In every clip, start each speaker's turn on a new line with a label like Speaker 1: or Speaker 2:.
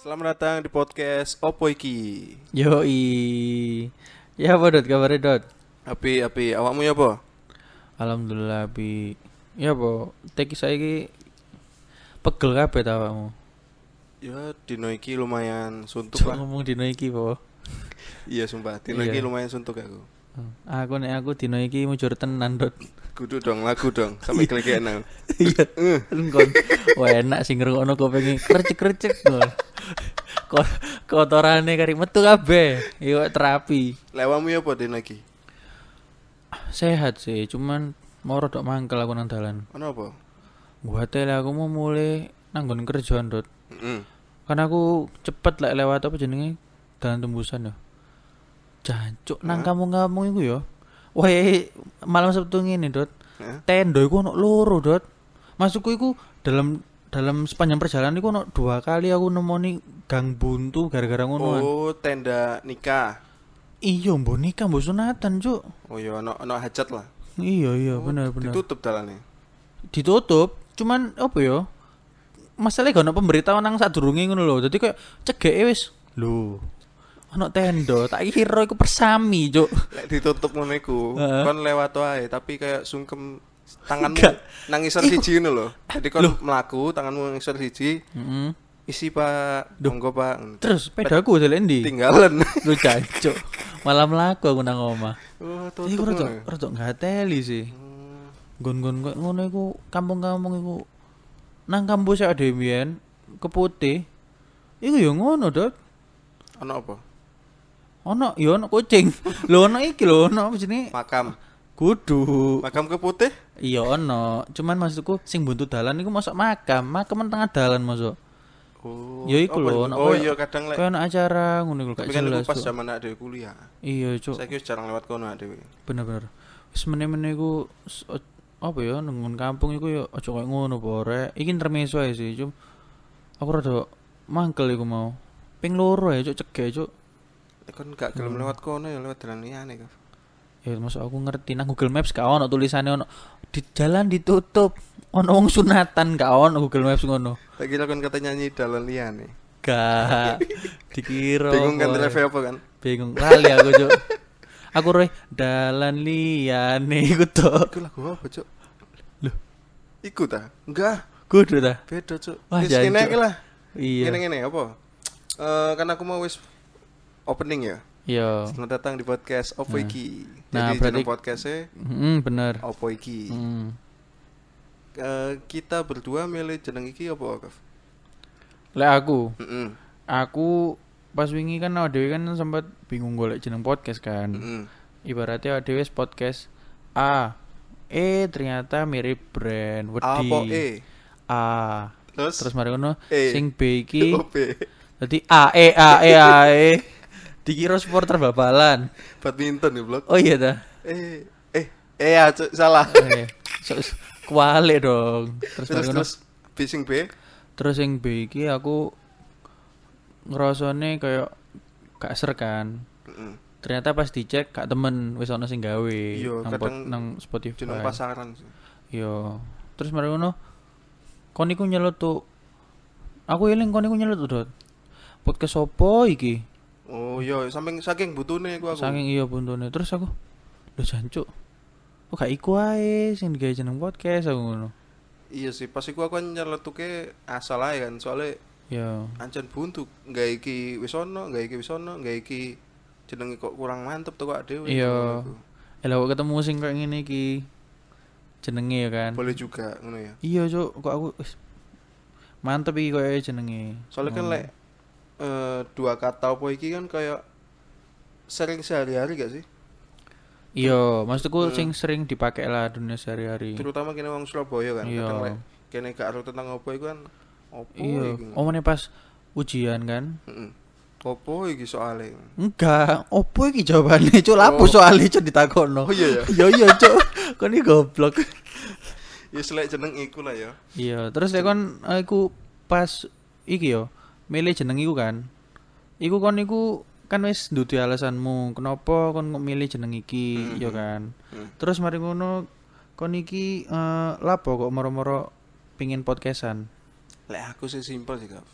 Speaker 1: Selamat datang di podcast Opo iki.
Speaker 2: Yoi. Ya apa Dot, kabarnya Dot?
Speaker 1: Api api awakmu ya apa?
Speaker 2: Alhamdulillah bi. Ya apa, teki saya ini pegel kabeh ta awakmu.
Speaker 1: Ya dino iki lumayan suntuk
Speaker 2: Cuk
Speaker 1: lah.
Speaker 2: ngomong dino iki po.
Speaker 1: Iya sumpah, dino
Speaker 2: Iya.
Speaker 1: iki lumayan suntuk aku.
Speaker 2: Aku nek aku dino iki mujur tenan Dot.
Speaker 1: Kudu dong lagu dong sampai kelegean aku.
Speaker 2: Iya. Engkon. Wah enak sih ngrungokno kok pengen krecek-krecek kok. Kok kotorane kari metu kabeh. Iya terapi.
Speaker 1: Lewamu ya apa dino iki?
Speaker 2: Sehat sih, cuman mau rodok mangkel aku nang dalan.
Speaker 1: Ono apa?
Speaker 2: Buate lah aku mau mulai nanggon kerjaan Dot.
Speaker 1: Heeh.
Speaker 2: Karena aku cepet lek lewat apa jenenge dalan tembusan ya. Jancuk nang kamu-kamu iku ya. Wah, malam Sabtu ngene, Dot.
Speaker 1: Heeh.
Speaker 2: Tendo iku ono loro, Dot. Masukku iku dalam dalam sepanjang perjalanan iku ono dua kali aku nemoni gang buntu gara-gara ngonoan.
Speaker 1: Oh, tenda nikah.
Speaker 2: Iya, mbok nikah mbok sunatan, Cuk.
Speaker 1: Oh ya ono ono hajat lah.
Speaker 2: Iya, iya, bener bener.
Speaker 1: Ditutup dalane.
Speaker 2: ditutup cuman apa ya masalahnya gak ada pemberitahuan nang sadurunge ngono lho jadi kayak cegeke wis lho ono tenda tak kira iku persami cuk
Speaker 1: Lek ditutup ngono iku,
Speaker 2: Heeh.
Speaker 1: kon lewat wae tapi kayak sungkem tanganmu
Speaker 2: Enggak.
Speaker 1: nang ngisor siji ngono lho. Jadi kon mlaku tanganmu nang ngisor siji,
Speaker 2: Mm-mm.
Speaker 1: isi Pak, monggo Pak.
Speaker 2: terus sepedaku aku ndi
Speaker 1: Tinggalan.
Speaker 2: lu jancuk malam laku aku nang omah
Speaker 1: Oh,
Speaker 2: Jadi aku rada rada ngateli sih. Gon-gon kok ngono iku kampung-kampung iku nang kampus ya ada mbiyen keputih. Iku ya ngono, Dot.
Speaker 1: Ono apa?
Speaker 2: Ono ya ono kucing. Lho ono iki lho ono apa jenenge?
Speaker 1: Makam.
Speaker 2: Kudu.
Speaker 1: Makam keputih?
Speaker 2: Iya ono, cuman maksudku sing buntu dalan iku masuk makam, makam nang tengah dalan masuk.
Speaker 1: Oh.
Speaker 2: Ya
Speaker 1: apa
Speaker 2: iku lho,
Speaker 1: itu?
Speaker 2: ono
Speaker 1: Oh
Speaker 2: koyo-
Speaker 1: iya kadang lek.
Speaker 2: Kayak ono acara ngono iku gak
Speaker 1: Tapi kan iku
Speaker 2: jelas.
Speaker 1: pas
Speaker 2: Cuk.
Speaker 1: zaman ada kuliah.
Speaker 2: Iya, Cuk.
Speaker 1: Saya wis jarang lewat kono dhewe.
Speaker 2: Bener-bener. Wis meneh-meneh iku s- o- apa ya nunggu kampung iku ya aja koyo ngono po rek. Iki intermezzo ae sih, cum aku rada mangkel iku mau. Ping loro ya Cuk cegek Cuk.
Speaker 1: Lek kon gak
Speaker 2: Hmm.
Speaker 1: gelem lewat kono ya lewat dalan liyane kok.
Speaker 2: Ya masuk aku ngerti nang Google Maps gak ono tulisannya ono di jalan ditutup. Ono wong sunatan gak ono Google Maps ngono.
Speaker 1: Tak kira kon kata nyanyi dalan liyane.
Speaker 2: Gak dikira.
Speaker 1: Bingung kan
Speaker 2: boy.
Speaker 1: ref apa kan?
Speaker 2: Bingung lali aku, Cuk. aku roh dalan liyane iku tok.
Speaker 1: Iku lagu apa, Cuk?
Speaker 2: Loh.
Speaker 1: Iku ta? Enggak.
Speaker 2: Kudu ta.
Speaker 1: Beda, Cuk.
Speaker 2: Wah,
Speaker 1: Wis
Speaker 2: jancuk.
Speaker 1: kene iki lah.
Speaker 2: Iya.
Speaker 1: Kene-kene apa? Eh, kan aku mau wis opening ya.
Speaker 2: Iya.
Speaker 1: Selamat datang di podcast Opo iki.
Speaker 2: Nah,
Speaker 1: Jadi
Speaker 2: berarti-
Speaker 1: jeneng podcastnya
Speaker 2: Heeh, bener.
Speaker 1: Opo iki.
Speaker 2: Mm.
Speaker 1: Eh, kita berdua milih jeneng iki apa Kaf?
Speaker 2: Lek aku,
Speaker 1: Heeh.
Speaker 2: aku pas wingi kan awake dhewe kan sempat bingung golek jeneng podcast kan.
Speaker 1: Heeh.
Speaker 2: Ibaratnya awake dhewe wis podcast A. E ternyata mirip brand wedi.
Speaker 1: Apa E?
Speaker 2: A.
Speaker 1: Terus,
Speaker 2: Terus mari ngono
Speaker 1: E.
Speaker 2: sing B iki
Speaker 1: OP.
Speaker 2: Jadi A E A E A E. Dikira supporter babalan.
Speaker 1: Badminton ya, Blok.
Speaker 2: Oh iya dah.
Speaker 1: Eh, eh, eh ya, Cuk, salah.
Speaker 2: Eh, so- so- Kualik dong.
Speaker 1: Terus
Speaker 2: Terus terus,
Speaker 1: terus B sing B.
Speaker 2: terus yang B iki aku ngerasane kayak gak ser kan.
Speaker 1: Heeh.
Speaker 2: Ternyata pas dicek gak temen wis ono sing gawe
Speaker 1: Iya,
Speaker 2: nang, pod-
Speaker 1: kadang
Speaker 2: nang Spotify.
Speaker 1: Jeneng pasaran.
Speaker 2: Yo. Terus mari ngono. Kon iku nyeletuk. Aku eling kon iku nyeletuk, Dot. Podcast sopo iki?
Speaker 1: Oh, iya, saking saking butune iku aku.
Speaker 2: Saking iya buntune. Terus aku lho jancuk. Kok gak iku ae sing digawe jeneng podcast aku ngono.
Speaker 1: Iya sih, pas iku aku nyeletuke asal ae kan, soalnya
Speaker 2: Ya,
Speaker 1: ancen buntu nggak iki wis ono, nggak iki wis ono, nggak iki jenenge kok kurang mantep tuh kok dhewe.
Speaker 2: Iya.
Speaker 1: Ngono iku.
Speaker 2: Elah kok ketemu sing kayak ngene iki. Jenenge ya kan.
Speaker 1: Boleh juga ngono ya.
Speaker 2: Iya, Cuk, kok aku wis mantep iki koyo jenenge.
Speaker 1: soalnya kan lek eh, dua kata apa iki kan kayak sering sehari-hari gak sih
Speaker 2: Iya, maksudku sing sering dipakai lah dunia sehari-hari.
Speaker 1: terutama kene wong Surabaya kan kadang
Speaker 2: Iya.
Speaker 1: lek kene gak ero tentang apa iku kan opo
Speaker 2: Iya,
Speaker 1: iki
Speaker 2: omone pas ujian kan.
Speaker 1: Heeh. opo iki soalnya
Speaker 2: Enggak, opo iki jawabane, Cuk? Lapo soalnya Cuk ditakono.
Speaker 1: oh iya ya
Speaker 2: Yo yo, Cuk. Kon iki goblok.
Speaker 1: ya selek jeneng iku lah ya
Speaker 2: Iya, terus lek kon aku pas iki yo, milih jeneng iku kan. Iku kon iku kan wis dudu alasanmu kenapa kon kok milih jeneng iki yo kan.
Speaker 1: Hmm.
Speaker 2: Terus mari ngono kon iki eh, lapo kok moro-moro pingin podcastan.
Speaker 1: lek aku sih simpel sih kak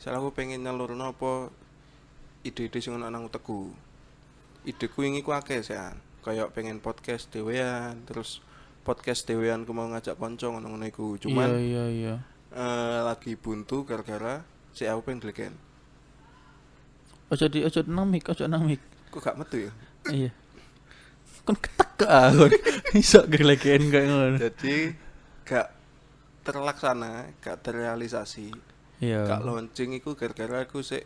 Speaker 1: Soalnya aku pengen nyalurno apa ide-ide sing ono nang utekku. Ideku ini ku akeh sean. Kayak pengen podcast dhewean, terus podcast dhewean ku mau ngajak konco ngono-ngono iku.
Speaker 2: iya
Speaker 1: Cuman
Speaker 2: iya iya
Speaker 1: eh, lagi buntu gara-gara si aku pengen deleken.
Speaker 2: ojo di ojo nang mic ojo nang mic
Speaker 1: Kok gak metu ya?
Speaker 2: iya kon ketek ke aku iso gelegen kayak ngono
Speaker 1: Jadi gak terlaksana, gak terrealisasi.
Speaker 2: iya
Speaker 1: Kak launching iku gara-gara aku sik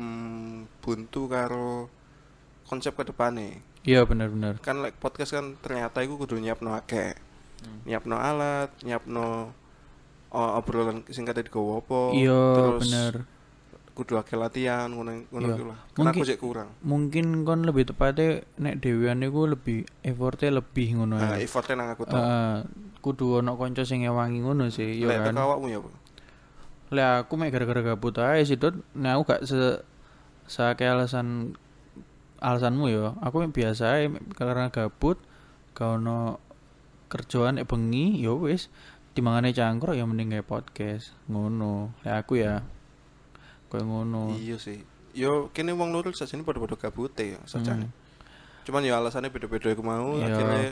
Speaker 1: mm, buntu karo konsep ke depane.
Speaker 2: iya bener bener
Speaker 1: Kan like podcast kan ternyata iku kudu nyiapno akeh. Nyiapno alat, nyiapno uh, obrolan sing kate digowo apa.
Speaker 2: iya
Speaker 1: Oh, terus
Speaker 2: bener
Speaker 1: kudu akeh latihan ngono ngono
Speaker 2: Iya.
Speaker 1: iku lah. Karena aku
Speaker 2: Mungkin-
Speaker 1: sik kurang.
Speaker 2: mungkin kon lebih tepatnya nek dewean iku lebih effortnya lebih ngono
Speaker 1: Nah,
Speaker 2: ya
Speaker 1: effortnya nang aku tok.
Speaker 2: Eh, kudu ono kanca sing ngewangi ngono sih
Speaker 1: Lek teko
Speaker 2: ya kan
Speaker 1: awakmu ya, Bu.
Speaker 2: lah aku mek gara-gara gabut aja sih Dut. Nah, aku gak se sake alasan alasanmu ya. Aku mek biasa ae, mek karena gabut gak ono kerjaan eh bengi ya wis dimangane cangkruk ya mending kayak podcast ngono. Lah aku ya kayak ngono.
Speaker 1: Iya sih. Yo kene wong loro sajane padha-padha gabute ya sajane. Cuman ya alasannya beda-beda aku mau
Speaker 2: Hmm. Iya. Hmm.
Speaker 1: akhirnya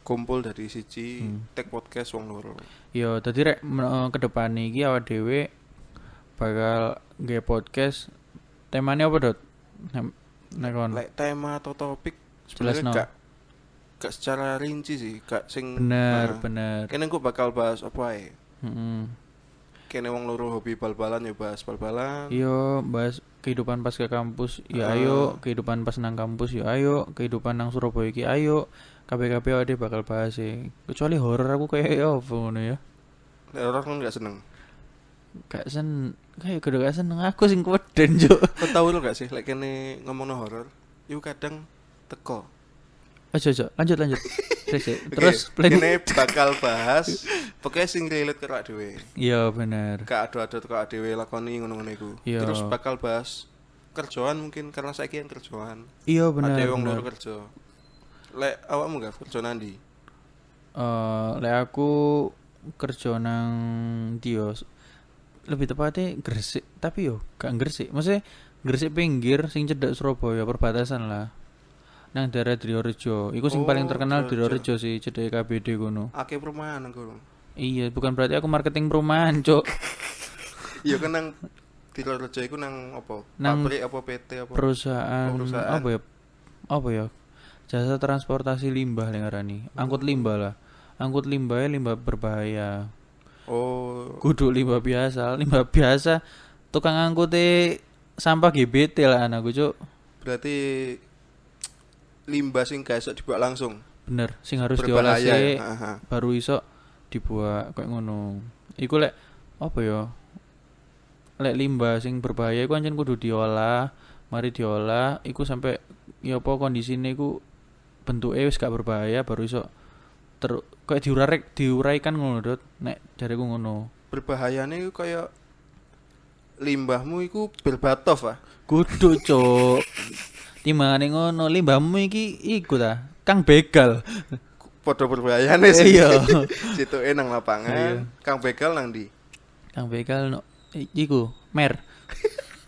Speaker 1: kumpul dari siji tag podcast wong loro.
Speaker 2: Yo, tadi Ya, rek men- ke depan iki awak dhewe bakal nge podcast temanya apa, Dot? Nek- Nek kon.
Speaker 1: Lek tema atau topik
Speaker 2: Jelas,
Speaker 1: sebenarnya
Speaker 2: no.
Speaker 1: gak gak secara rinci sih, gak sing
Speaker 2: Bener,
Speaker 1: Nah,
Speaker 2: bener.
Speaker 1: Kene aku bakal bahas apa ae.
Speaker 2: Mm-mm.
Speaker 1: Kene wong loro hobi bal-balan ya bahas bal-balan.
Speaker 2: Iya, bahas kehidupan pas ke kampus, ya
Speaker 1: Ah.
Speaker 2: ayo, kehidupan pas nang kampus, ya ayo, kehidupan nang Surabaya iki ayo. KBKP ade bakal bahas sih. Kecuali horor aku kayak ya apa ngono ya.
Speaker 1: Lek orang kan gak seneng.
Speaker 2: Gak sen kayak kudu gak seneng aku sing kuweden, Juk.
Speaker 1: Kau tahu lo gak sih lek kene ngomongno horor, iku kadang teko.
Speaker 2: Aja aja, lanjut lanjut. Terus ya, terus plan.
Speaker 1: kene bakal bahas pokoknya sing relate karo awake dhewe.
Speaker 2: Iya, bener.
Speaker 1: gak ada ada kok dhewe lakoni ngono-ngono iku.
Speaker 2: Iya.
Speaker 1: Terus bakal bahas kerjaan mungkin karena saiki yang kerjaan.
Speaker 2: Iya, bener.
Speaker 1: ada wong
Speaker 2: bener.
Speaker 1: loro kerja. Lek awakmu gak kerja nandi?
Speaker 2: Eh, lek aku kerja nang Dios lebih tepatnya Gresik tapi yo gak Gresik maksudnya Gresik pinggir sing cedak Surabaya perbatasan lah nang daerah Driorejo iku
Speaker 1: Oh,
Speaker 2: sing paling terkenal
Speaker 1: Driorejo.
Speaker 2: Driorejo sih cedek KBD kono
Speaker 1: Ake perumahan aku.
Speaker 2: iya bukan berarti aku marketing perumahan cok
Speaker 1: Iya kan nang di kerja iku nang apa?
Speaker 2: Nang-
Speaker 1: Pabrik apa PT apa?
Speaker 2: perusahaan,
Speaker 1: Oh, perusahaan.
Speaker 2: apa ya apa ya jasa transportasi limbah yang ngarani angkut limbah lah angkut limbah ya, limbah berbahaya
Speaker 1: Oh,
Speaker 2: kudu limbah biasa limbah biasa tukang angkut sampah GBT lah anakku cuk
Speaker 1: berarti limbah sing gak iso dibuat langsung.
Speaker 2: bener sing harus diolah
Speaker 1: Berbahaya ya.
Speaker 2: sih
Speaker 1: Aha.
Speaker 2: baru iso dibuat kayak ngono iku lek apa ya lek limbah sing berbahaya iku anjen kudu diolah mari diolah iku sampai ya apa kondisine iku bentuke wis gak berbahaya baru iso ter kayak diurai diuraikan ngono dot nek jariku ngono
Speaker 1: Berbahayane iku kayak limbahmu iku berbatof ah.
Speaker 2: Kudu cok. Timbangane ngono limbahmu iki iku ta, Kang Begal.
Speaker 1: Padha berbahayane sih.
Speaker 2: Iya.
Speaker 1: Situke nang lapangan, Kang Begal nang ndi?
Speaker 2: Kang Begal no, i- iku mer.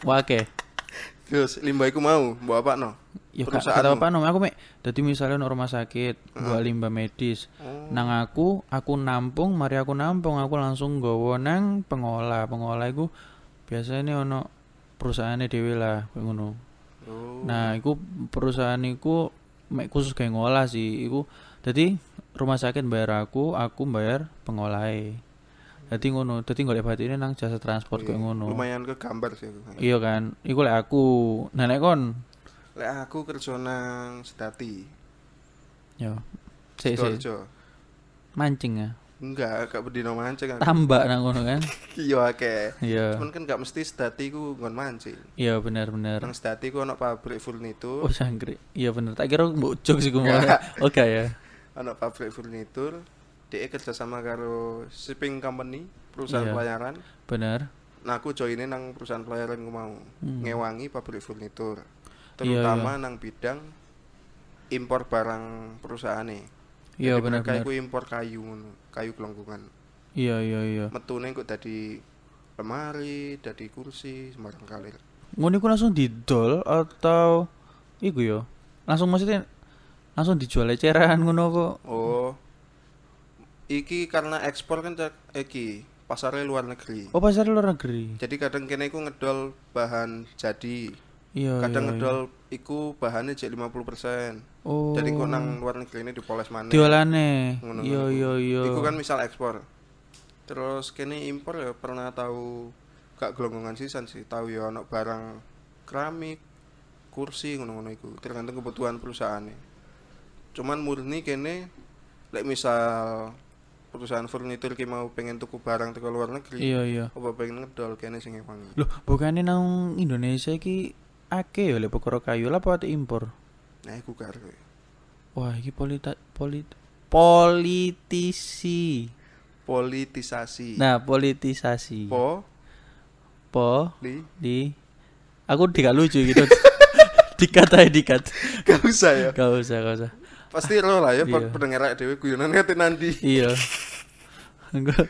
Speaker 2: Wake.
Speaker 1: Terus limbah iku mau mbok apa no?
Speaker 2: Yo gak
Speaker 1: Perusahaan
Speaker 2: apa no, aku mek dadi misalnya ono rumah sakit, buat limbah medis. Nang aku, aku nampung, mari aku nampung, aku langsung nggawa nang pengolah. Pengolah iku biasanya ono perusahaannya dhewe lah, koyo ngono.
Speaker 1: Oh.
Speaker 2: Nah, iku perusahaan iku mek khusus kayak ngolah sih. Iku jadi rumah sakit bayar aku, aku bayar pengolahe. Jadi ngono, jadi golek batine nang jasa transport kayak
Speaker 1: Iya,
Speaker 2: ngono.
Speaker 1: Lumayan ke gambar sih aku.
Speaker 2: Iya kan? Iku lek aku. Nah, lek kon.
Speaker 1: Lek aku kerja nang Sedati.
Speaker 2: Yo. Sik sik.
Speaker 1: Sidoarjo.
Speaker 2: Mancing ya.
Speaker 1: Enggak, gak berdino mancing aku.
Speaker 2: Tambak nang ngono kan.
Speaker 1: Iya akeh.
Speaker 2: Iya.
Speaker 1: Cuman kan gak mesti Sedati ku ngon mancing.
Speaker 2: Iya benar-benar.
Speaker 1: Nang Sedati ku ono pabrik furnitur,
Speaker 2: Oh, sangkrik. Iya bener. Tak kira mbok jog sih gue mau.
Speaker 1: Enggak.
Speaker 2: Oke ya.
Speaker 1: ono pabrik furnitur. Dia kerja sama karo shipping company, perusahaan
Speaker 2: Iya.
Speaker 1: pelayaran.
Speaker 2: Bener.
Speaker 1: Nah aku joinnya nang perusahaan pelayaran ku mau ngewangi pabrik furnitur,
Speaker 2: Hmm. Iya,
Speaker 1: terutama nang bidang impor barang perusahaan nih.
Speaker 2: Iya
Speaker 1: Jadi mereka
Speaker 2: bener-bener.
Speaker 1: iku impor kayu ngono, kayu kelengkungan.
Speaker 2: Iya iya iya.
Speaker 1: Metune kok dadi lemari, dadi kursi, sembarang kalir.
Speaker 2: ngono iku langsung didol atau iku yo langsung maksudnya langsung dijual eceran ngono apa
Speaker 1: Oh. Iki karena ekspor kan cak- iki pasarnya luar negeri.
Speaker 2: oh pasar luar negeri
Speaker 1: Jadi kadang kene iku ngedol bahan jadi.
Speaker 2: iya
Speaker 1: Kadang
Speaker 2: Oh, iya, iya.
Speaker 1: ngedol iku bahannya jadi 50%.
Speaker 2: oh
Speaker 1: Jadi kok nang luar negeri ini dipoles maneh.
Speaker 2: diolane
Speaker 1: Ngono-ngono
Speaker 2: iya
Speaker 1: iku.
Speaker 2: iya iya
Speaker 1: Iku kan misal ekspor. Terus kene impor ya pernah tahu gak gelonggongan sisan sih, tahu ya ono barang keramik, kursi ngono-ngono iku, tergantung kebutuhan perusahaannya. Cuman murni kene lek misal perusahaan furnitur ki mau pengen tuku barang teko luar negeri,
Speaker 2: iya iya
Speaker 1: apa pengen ngedol kene sing ngewangi.
Speaker 2: loh bukannya nang Indonesia ki akeh ya lek perkara kayu lah apa ate impor
Speaker 1: Nah, iku karo. kowe.
Speaker 2: wah iki polita polit politisi
Speaker 1: Politisasi.
Speaker 2: nah politisasi
Speaker 1: Po
Speaker 2: po
Speaker 1: li
Speaker 2: di aku tidak lucu gitu dikat aja dikat
Speaker 1: gak usah ya.
Speaker 2: gak usah gak usah
Speaker 1: Pasti ro lah ya
Speaker 2: Iya.
Speaker 1: pendengar awake dhewe guyonan ngerti nandi.
Speaker 2: iya Enggak.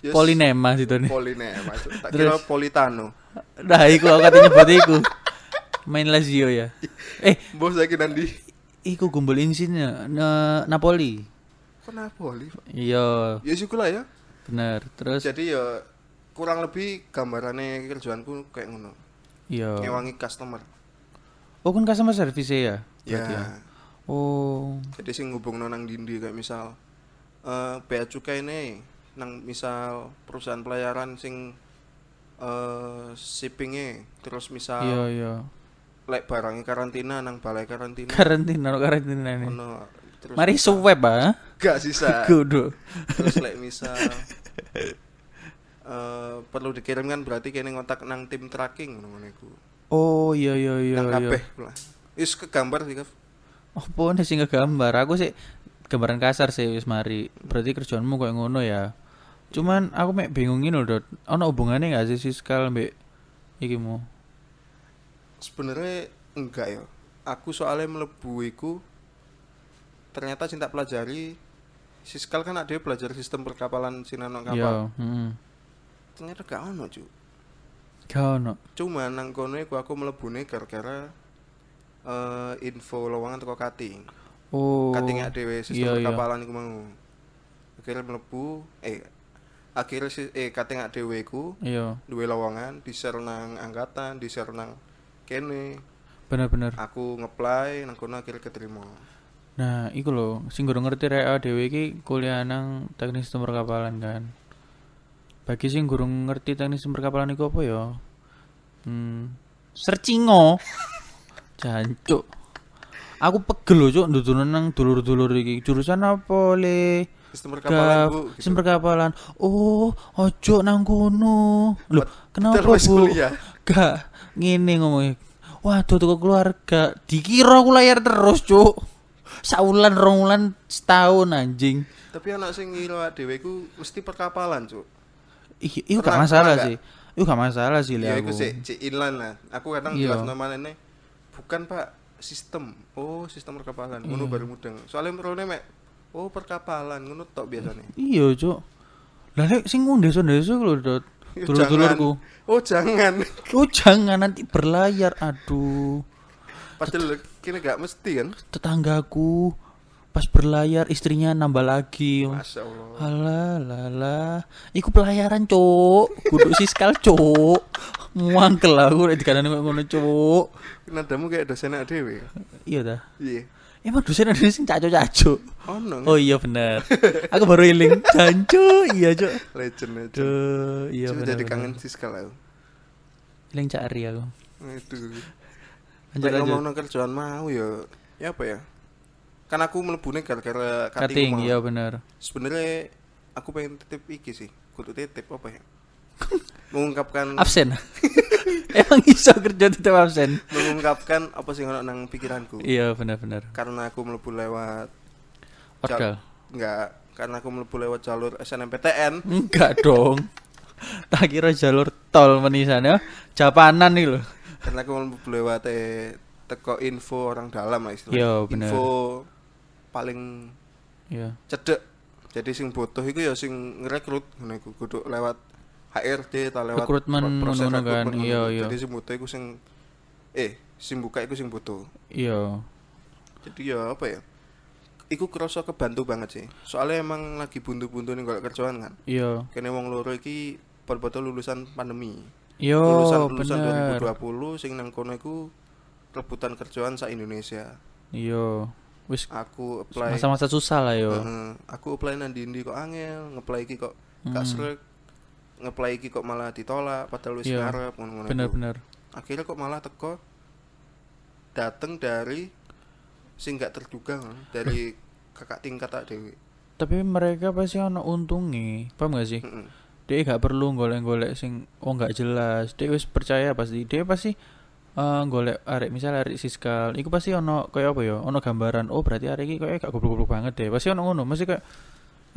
Speaker 1: Yes.
Speaker 2: polinema situ nih
Speaker 1: Poline maksud tak kira Politano.
Speaker 2: nah iku aku katanya buat iku main Lazio ya eh
Speaker 1: Bos saiki nanti.
Speaker 2: iku gumbul insinya na Napoli
Speaker 1: Kok Napoli? Pak?
Speaker 2: iya
Speaker 1: Ya syukurlah ya.
Speaker 2: bener terus
Speaker 1: Jadi ya kurang lebih gambarannya kerjaanku kayak ngono.
Speaker 2: iya
Speaker 1: Ngewangi customer.
Speaker 2: oh kan customer service
Speaker 1: Ya.
Speaker 2: ya berarti oh
Speaker 1: Jadi sing ngubungno nang dindi kayak misal eh bea cukai ini nang misal perusahaan pelayaran sing eh shippingnya terus misal
Speaker 2: iya iya
Speaker 1: lek barangnya karantina nang balai karantina
Speaker 2: karantina no karantina nih
Speaker 1: ono Nah, terus Nah.
Speaker 2: mari swab ah
Speaker 1: gak sisa
Speaker 2: kudu
Speaker 1: terus like misal eh, perlu dikirimkan berarti kene ngontak nang tim tracking ngono iku.
Speaker 2: oh iya iya iya
Speaker 1: Nang
Speaker 2: iya.
Speaker 1: kabeh lah. Is kegambar sih, Kaf.
Speaker 2: Apa nih sing gambar? Aku sih gambaran kasar sih wis mari. Berarti kerjaanmu kayak ngono ya. Cuman aku mek bingung ini loh, Dot. Ono hubungannya gak sih siskal mbek iki mu?
Speaker 1: Sebenarnya enggak ya. Aku soalnya melebu iku ternyata cinta pelajari siskal kan ada belajar sistem perkapalan sinano kapal.
Speaker 2: Iya, heeh.
Speaker 1: Ternyata gak ono, Cuk.
Speaker 2: Gak ono.
Speaker 1: Cuma nang kono iku aku melebune gara-gara eh, info lowongan teko kating.
Speaker 2: Oh.
Speaker 1: katingnya dhewe
Speaker 2: iya,
Speaker 1: sistem
Speaker 2: iya.
Speaker 1: perkapalan iku mau akhirnya mlebu eh akhirnya si, eh katingnya dhewe iku
Speaker 2: Iya,
Speaker 1: duwe lowongan di share nang angkatan di share nang kene
Speaker 2: bener-bener.
Speaker 1: aku ngeplay nang kono akhirnya keterima
Speaker 2: Nah, iku lho, sing gurung ngerti rek awake dhewe iki kuliah nang teknik sistem perkapalan kan. Bagi sing gurung ngerti teknik sistem perkapalan iku apa ya? Hmm, searchingo. Jancuk. Aku pegel lho cuk ndudunan nang dulur-dulur iki. Jurusan apa le?
Speaker 1: sistem perkapalan
Speaker 2: Gap,
Speaker 1: bu gitu.
Speaker 2: sistem perkapalan. Oh, ojo nang kono. Lho, kenapa
Speaker 1: terus
Speaker 2: Bu?
Speaker 1: kuliah.
Speaker 2: Gak ngene ngomongnya. Waduh tuh keluarga dikira aku layar terus, Cuk. Saulan rong wulan setahun anjing.
Speaker 1: tapi anak sing ngira dhewe iku mesti perkapalan cuk
Speaker 2: Ih, itu gak
Speaker 1: Pernah-
Speaker 2: masalah
Speaker 1: pernah
Speaker 2: sih. Itu gak masalah sih
Speaker 1: ya
Speaker 2: lah
Speaker 1: iku
Speaker 2: aku.
Speaker 1: sih cek inlan lah aku kadang
Speaker 2: Iya.
Speaker 1: jelas namanya bukan pak sistem oh sistem perkapalan ngono
Speaker 2: Iya.
Speaker 1: baru mudeng soalnya merone mek oh perkapalan ngono tok biasanya
Speaker 2: Iya, Cuk. Lah lek sing ngundes-ndes lho, Dot.
Speaker 1: Ya,
Speaker 2: Dulur-dulurku.
Speaker 1: jangan. Oh jangan.
Speaker 2: Oh, jangan nanti berlayar. Aduh.
Speaker 1: Padahal kini gak mesti kan.
Speaker 2: Tetanggaku pas berlayar istrinya nambah lagi.
Speaker 1: Masya Allah.
Speaker 2: Alah, lala. Iku pelayaran, Cuk. Kudu siskal, Cuk. Muangkel aku nek dikanani koyo ngono, Cuk.
Speaker 1: Nadamu kayak dosen anak dewe.
Speaker 2: Iya ta.
Speaker 1: Iya.
Speaker 2: Emang dosen ada sing caco-caco.
Speaker 1: Oh no.
Speaker 2: Oh iya bener. Aku baru iling. Jancu, iya, Cuk.
Speaker 1: Legend legend.
Speaker 2: Duh, iya
Speaker 1: Cuma
Speaker 2: bener.
Speaker 1: jadi kangen sih sekali aku.
Speaker 2: Iling cak Ari aku.
Speaker 1: Itu.
Speaker 2: Lanjut
Speaker 1: Lanjut
Speaker 2: lanjut.
Speaker 1: ngomong nang kerjaan mau ya. Ya apa ya? Kan aku melebune gara-gara
Speaker 2: Cutting,
Speaker 1: mau.
Speaker 2: iya bener.
Speaker 1: Sebenarnya aku pengen titip iki sih. Kudu titip apa ya? mengungkapkan
Speaker 2: Absen. Emang iso kerja tetep absen.
Speaker 1: mengungkapkan apa sih ngono nang pikiranku.
Speaker 2: Iya bener-bener.
Speaker 1: Karena aku melebu lewat
Speaker 2: Order.
Speaker 1: Enggak, karena aku melebu lewat jalur SNMPTN.
Speaker 2: Enggak dong. Tak kira jalur tol menisannya Japanan nih loh.
Speaker 1: karena aku melebu lewat eh, teko info orang dalam lah istilahnya.
Speaker 2: Yo, bener.
Speaker 1: Info paling
Speaker 2: Iya.
Speaker 1: cedek. Jadi sing butuh itu ya sing ngerekrut ngono iku kudu lewat HRD ta lewat
Speaker 2: Recruitment
Speaker 1: pro- proses
Speaker 2: ngono-ngono kan,
Speaker 1: recruitment ngono.
Speaker 2: iya, iya.
Speaker 1: Jadi sing butuh iku sing eh sing buka iku sing butuh.
Speaker 2: Iya.
Speaker 1: Jadi ya apa ya? Iku kerasa kebantu banget sih. Soalnya emang lagi buntu-buntu nih golek kerjaan kan.
Speaker 2: Iya.
Speaker 1: Kene wong loro iki padha-padha lulusan pandemi.
Speaker 2: Yo,
Speaker 1: lulusan lulusan
Speaker 2: Oh, bener.
Speaker 1: 2020 sing nang kono iku rebutan kerjaan sa Indonesia.
Speaker 2: Iya. Wis
Speaker 1: Aku apply
Speaker 2: masa-masa susah lah yo.
Speaker 1: Heeh, aku apply nang ndi kok angel, ngeplay iki kok gak
Speaker 2: Hmm. Mm-hmm.
Speaker 1: srek. Ngeplay iki kok malah ditolak padahal wis
Speaker 2: Iya.
Speaker 1: ngarep ngono-ngono. iku.
Speaker 2: Bener-bener.
Speaker 1: Akhirnya kok malah teko dateng dari sing gak terduga ngono,
Speaker 2: Eh.
Speaker 1: dari kakak tingkat tak dewe.
Speaker 2: Tapi mereka pasti ono untungnya, paham gak sih?
Speaker 1: Heeh.
Speaker 2: Dia gak perlu golek-golek sing oh gak jelas. Dia wis percaya pasti. Dia pasti eh golek arek misalnya arek siskal, iku pasti ono kayak apa ya? Ono gambaran. Oh berarti arek iki kayak gak goblok-goblok banget deh. Pasti ono ngono. Mesti kayak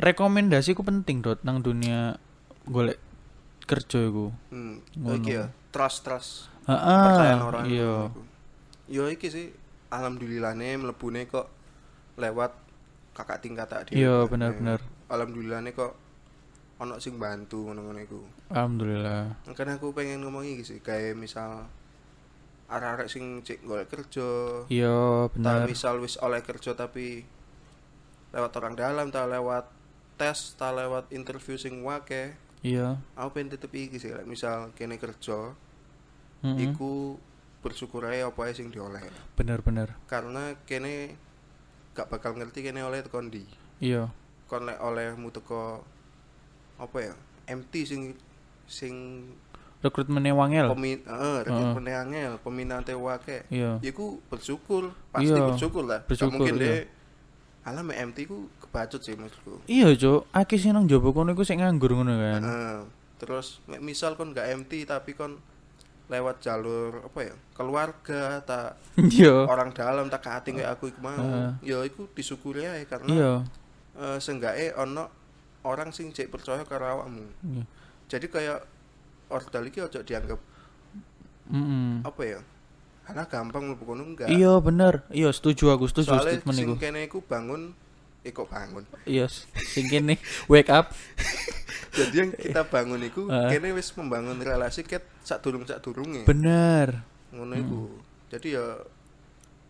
Speaker 2: rekomendasi ku penting dot nang dunia golek kerja iku.
Speaker 1: Hmm,
Speaker 2: Ngono.
Speaker 1: iki ya, trust trust
Speaker 2: Heeh.
Speaker 1: percayaan orang
Speaker 2: Ah, Iya.
Speaker 1: ngono iku. yo iki sih alhamdulillahnya melebune kok lewat kakak tingkat tak dewe.
Speaker 2: Iya, bener-bener.
Speaker 1: alhamdulillahnya kok ono sing bantu ngono-ngono iku
Speaker 2: Alhamdulillah.
Speaker 1: kan aku pengen ngomong iki sih kayak misal arek-arek sing cek golek kerja ta
Speaker 2: Iya, bener.
Speaker 1: misal wis oleh kerja tapi lewat orang dalam ta lewat tes ta lewat interview sing wake
Speaker 2: Iya.
Speaker 1: aku pengen tetep iki sih like, misal kene kerja
Speaker 2: Mm-mm.
Speaker 1: iku bersyukur aja apa ae sing dioleh
Speaker 2: Bener-bener.
Speaker 1: karena kene gak bakal ngerti kene oleh tekon di
Speaker 2: Iya.
Speaker 1: kon lek olehmu teko apa ya MT sing sing
Speaker 2: Rekrutmennya wangel.
Speaker 1: pemin eh rekrutmennya angel peminate wake Ya
Speaker 2: Iya.
Speaker 1: iku bersyukur pasti
Speaker 2: Iya.
Speaker 1: bersyukur lah Gak
Speaker 2: Bersyukur,
Speaker 1: mungkin
Speaker 2: iya.
Speaker 1: deh alah mek MT ku kebacut sih maksudku
Speaker 2: Iya, Cuk. Aki sih nang jopo kono iku sik nganggur ngono kan.
Speaker 1: Eh, terus mek misal kon gak MT tapi kon lewat jalur apa ya keluarga tak
Speaker 2: Iya.
Speaker 1: orang dalam tak hati kayak aku iku mau
Speaker 2: Oh. Heeh.
Speaker 1: ya iku disyukuri aja karena
Speaker 2: Iya.
Speaker 1: eh seenggaknya ono orang sing cek percaya karo awakmu
Speaker 2: Iya.
Speaker 1: jadi kayak ordal iki ojo dianggap
Speaker 2: Hmm. Mm-mm.
Speaker 1: apa ya karena gampang mlebu kono enggak
Speaker 2: Iya, bener. Iya, setuju aku, setuju
Speaker 1: soalnya
Speaker 2: statement
Speaker 1: sing
Speaker 2: iku.
Speaker 1: kene iku bangun eh kok bangun
Speaker 2: Iya, sing kene wake up.
Speaker 1: jadi yang kita bangun iku
Speaker 2: Heeh.
Speaker 1: kene wis membangun relasi ket sak durung sak durunge
Speaker 2: Bener.
Speaker 1: ngono iku
Speaker 2: Hmm.
Speaker 1: jadi ya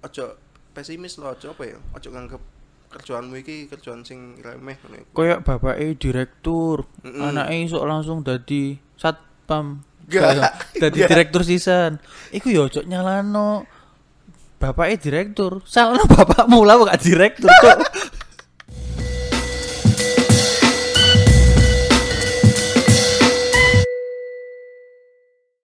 Speaker 1: ojo pesimis lo ojo apa ya ojo nganggep kerjaanmu iki kerjaan sing remeh ngono iku
Speaker 2: Kayak bapake direktur,
Speaker 1: Mm-mm.
Speaker 2: anake iso langsung dadi satpam.
Speaker 1: Gak.
Speaker 2: Dadi
Speaker 1: Gak.
Speaker 2: direktur sisan. Iku yo ojo nyalano. Bapaknya direktur, salahnya bapakmu lah kok gak direktur cok.